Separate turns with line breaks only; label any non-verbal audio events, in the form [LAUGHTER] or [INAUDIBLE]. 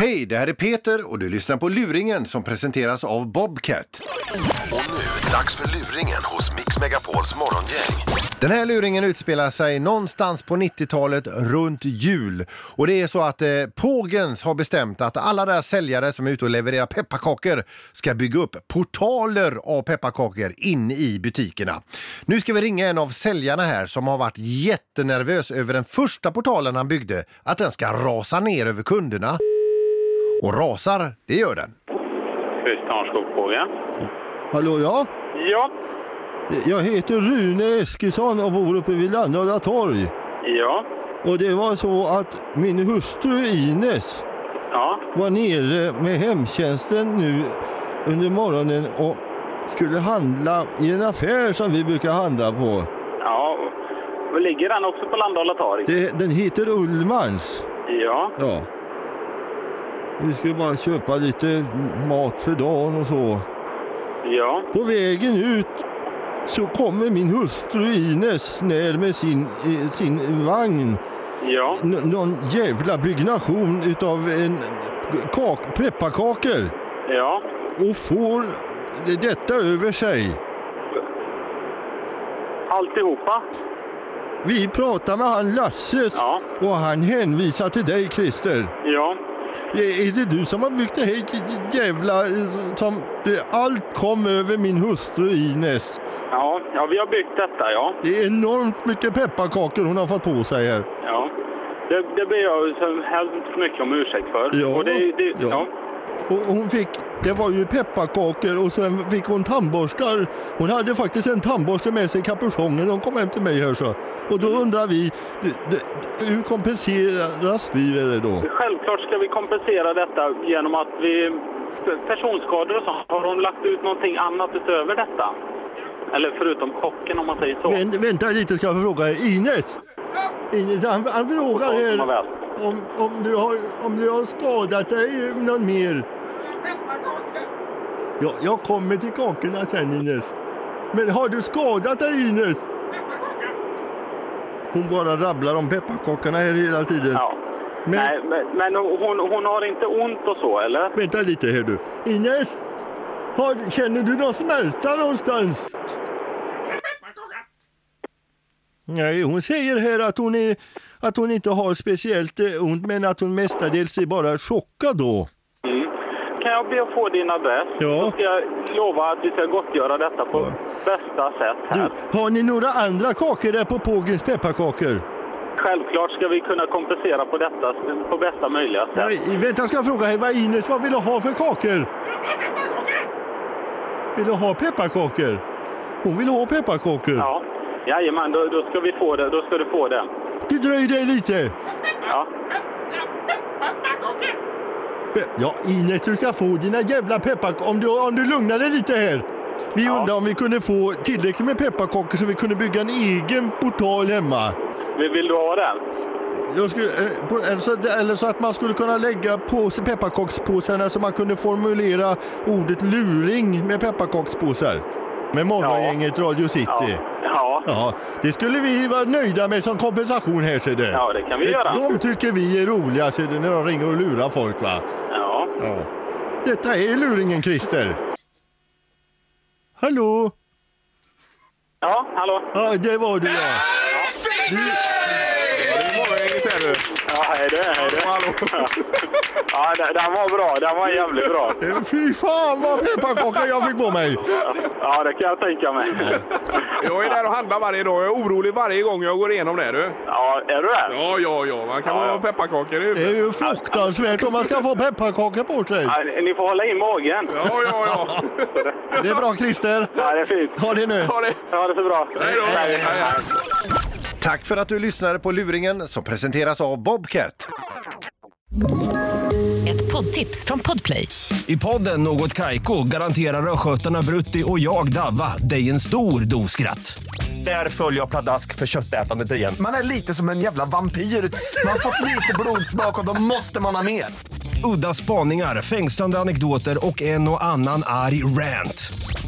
Hej, det här är Peter och du lyssnar på Luringen som presenteras av Bobcat.
Och nu, dags för luringen hos Mix Megapols morgongäng.
Den här luringen utspelar sig någonstans på 90-talet runt jul. Och det är så att eh, Pågens har bestämt att alla deras säljare som är ute och levererar pepparkakor ska bygga upp portaler av pepparkakor in i butikerna. Nu ska vi ringa en av säljarna här som har varit jättenervös över den första portalen han byggde, att den ska rasa ner över kunderna. Och rasar, det gör den.
Hustanskogpågen.
Hallå ja,
Ja.
jag heter Rune Eskilsson och bor uppe vid Landala torg.
Ja.
Och det var så att min hustru Ines
Ja.
var nere med hemtjänsten nu under morgonen och skulle handla i en affär som vi brukar handla på.
Ja. Och Ligger den också på Landala torg?
Det, den heter Ullmans.
Ja.
Ja. Vi skulle bara köpa lite mat för dagen och så.
Ja.
På vägen ut så kommer min hustru Ines ner med sin, eh, sin vagn.
Ja.
N- någon jävla byggnation utav en kak- pepparkakor
Ja.
och får detta över sig.
Alltihopa?
Vi pratar med han Lasse
Ja.
och han hänvisar till dig Christer.
Ja.
Är är det du som har byggt det här j- jävla... eh, Som, det, allt kom över min hustru Ines.
Ja. Ja, vi har byggt detta, ja.
Det är enormt mycket pepparkakor hon har fått på sig här.
Ja. Det, det ber jag ju så hemskt mycket om ursäkt för.
Ja,
Och det, det,
ja. Och hon fick, det var ju pepparkakor och sen fick hon tandborstar. Hon hade faktiskt en tandborste med sig i kapuschongen. Hon kom hem till mig här så. Och då undrar vi, d- d- hur kompenseras vi med det då?
Självklart ska vi kompensera detta genom att vi... Personskador och sånt, har de lagt ut någonting annat utöver detta? Eller förutom kocken om man säger så.
Men, vänta lite ska jag fråga er. Ines! Ines han, han frågar er
Nåväl.
om, om, du har, om du har skadat dig någon mer. Ja, jag kommer till kakorna sen Ines. Men har du skadat dig Ines? Hon bara rabblar om pepparkakorna här hela tiden.
Ja.
Men-
Nej, men, men hon, hon har inte ont och så, eller?
Vänta lite här du. Ines! Har, känner du någon smälta någonstans? Nej, hon säger här att hon, är, att hon inte har speciellt eh, ont men att hon mestadels är bara chockad då.
Mm. Kan jag be att få din adress?
Ja.
Så ska jag lova att vi ska gottgöra detta på
Ja.
bästa sätt här.
Du, har ni några andra kakor där på Pågens pepparkakor?
Självklart ska vi kunna kompensera på detta på bästa möjliga sätt.
Nej, vänta, jag ska fråga här, vad Ines vad vill du ha för kakor? Vill du ha pepparkakor? Hon vill ha pepparkakor.
Ja. Jajamän, då, då ska vi få det. Då ska du få det.
Du dröj dig lite.
Ja.
Pe- Ja, Ines, du ska få dina jävla pepparkakor om du, om du lugnar dig lite här. Vi
Ja.
undrar om vi kunde få tillräckligt med pepparkakor så vi kunde bygga en egen portal hemma.
Vill, vill du ha den?
Jag skulle, eh, på- eller, så, eller så att man skulle kunna lägga på sig pepparkakspåsarna så man kunde formulera ordet luring med pepparkakspåsar. Med morgongänget Radio City.
Ja. Ja.
Ja, det skulle vi vara nöjda med som kompensation här ser du.
Ja, det kan vi göra.
De tycker vi är roliga ser du, när de ringer och lurar folk va.
ja.
Ja. Detta är luringen Christer. Hallå?
Ja, hallå?
Ja, det var du ja.
[LAUGHS] Ja, hej du, hej du. [LAUGHS] Ja, den, den var bra. Den var jävligt bra.
Eh, Fy fan vad pepparkakor jag fick på mig.
Ja, det kan jag tänka mig.
[LAUGHS] Jag är där och handlar varje dag. Jag är orolig varje gång jag går igenom det. Du.
Ja, är du där?
Ja, ja, ja. Man kan
Ja, ja.
ha pepparkakor i
Det är
huvudet.
ju fruktansvärt om man ska få pepparkakor på sig.
Ja, ni- ni får hålla i magen.
Ja, ja, ja.
Det är bra Christer.
Ja, det är fint.
Ha det nu.
Ha det.
Ha det så bra.
Hej då. Hej, hej.
Tack för att du lyssnade på Luringen som presenteras av Bobcat.
Ett poddtips från Podplay.
I podden Något Kaiko garanterar östgötarna Brutti och jag, Davva, dig en stor dos skratt. Där följer jag pladask för köttätandet igen.
Man är lite som en jävla vampyr. Man har fått lite blodsmak och då måste man ha mer.
Udda spaningar, fängslande anekdoter och en och annan arg rant.